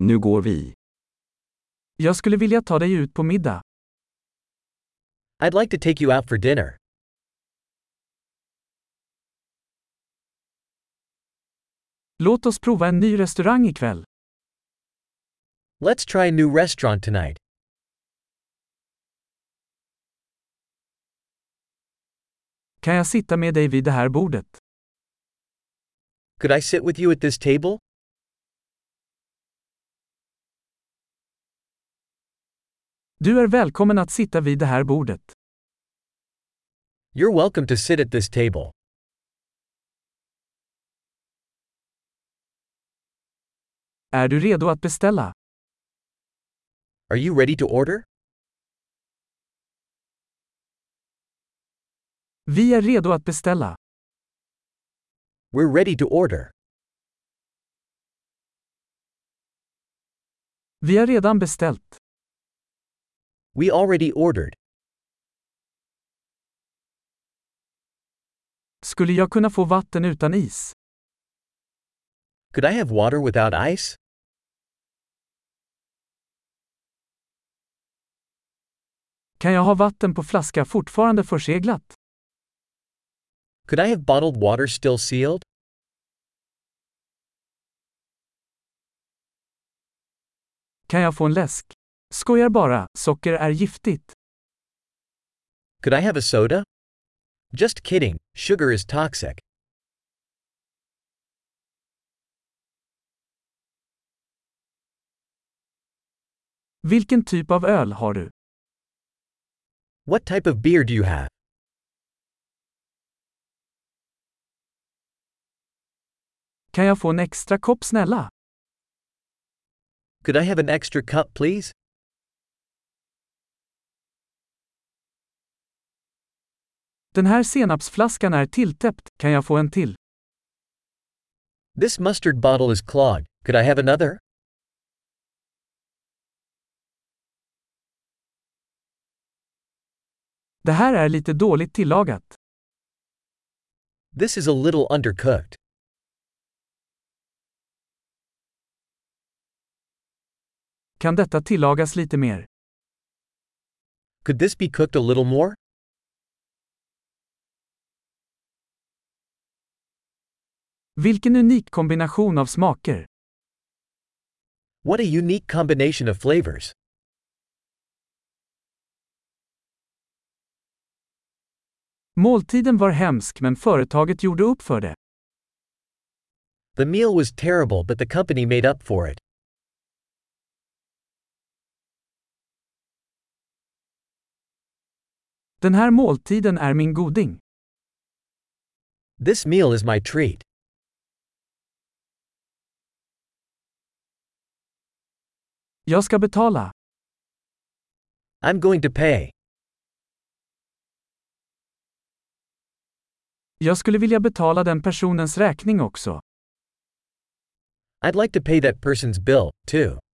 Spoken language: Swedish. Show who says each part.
Speaker 1: Nu går vi.
Speaker 2: Jag skulle vilja ta dig ut på middag.
Speaker 3: I'd like to take you out for dinner.
Speaker 2: Låt oss prova en ny restaurang ikväll.
Speaker 3: Let's try a new restaurant tonight.
Speaker 2: Kan jag sitta med dig vid det här bordet?
Speaker 3: Could I sit with you at this table?
Speaker 2: Du är välkommen att sitta vid det här bordet.
Speaker 3: You're welcome to sit at this table.
Speaker 2: Är du redo att beställa?
Speaker 3: Are you ready to order?
Speaker 2: Vi är redo att beställa.
Speaker 3: We're ready to order.
Speaker 2: Vi har redan beställt.
Speaker 3: We already ordered.
Speaker 2: Skulle jag kunna få vatten utan is?
Speaker 3: Could I have water without ice?
Speaker 2: Kan jag ha vatten på flaska fortfarande förseglat?
Speaker 3: Could I have bottled water still sealed?
Speaker 2: Kan jag få en läsk? Skojar bara, socker är giftigt.
Speaker 3: Could I have a soda? Just kidding, sugar is toxic.
Speaker 2: Vilken typ av öl har du?
Speaker 3: What type of beer do you have?
Speaker 2: Kan jag få en extra kopp snälla?
Speaker 3: Could I have an extra cup, please?
Speaker 2: Den här senapsflaskan är tilltäppt, kan jag få en till?
Speaker 3: This mustard bottle is clogged. Could I have another?
Speaker 2: Det här är lite dåligt tillagat.
Speaker 3: This is a little undercooked.
Speaker 2: Kan detta tillagas lite mer?
Speaker 3: Could this be cooked a little more?
Speaker 2: Vilken unik kombination av smaker.
Speaker 3: What a unique combination of flavors.
Speaker 2: Måltiden var hemsk men företaget gjorde upp för det.
Speaker 3: The meal was terrible, but the company made up for it.
Speaker 2: Den här måltiden är min goding.
Speaker 3: This meal is my treat.
Speaker 2: Jag ska betala.
Speaker 3: I'm going to pay.
Speaker 2: Jag skulle vilja betala den personens räkning också.
Speaker 3: I'd like to pay that person's bill, too.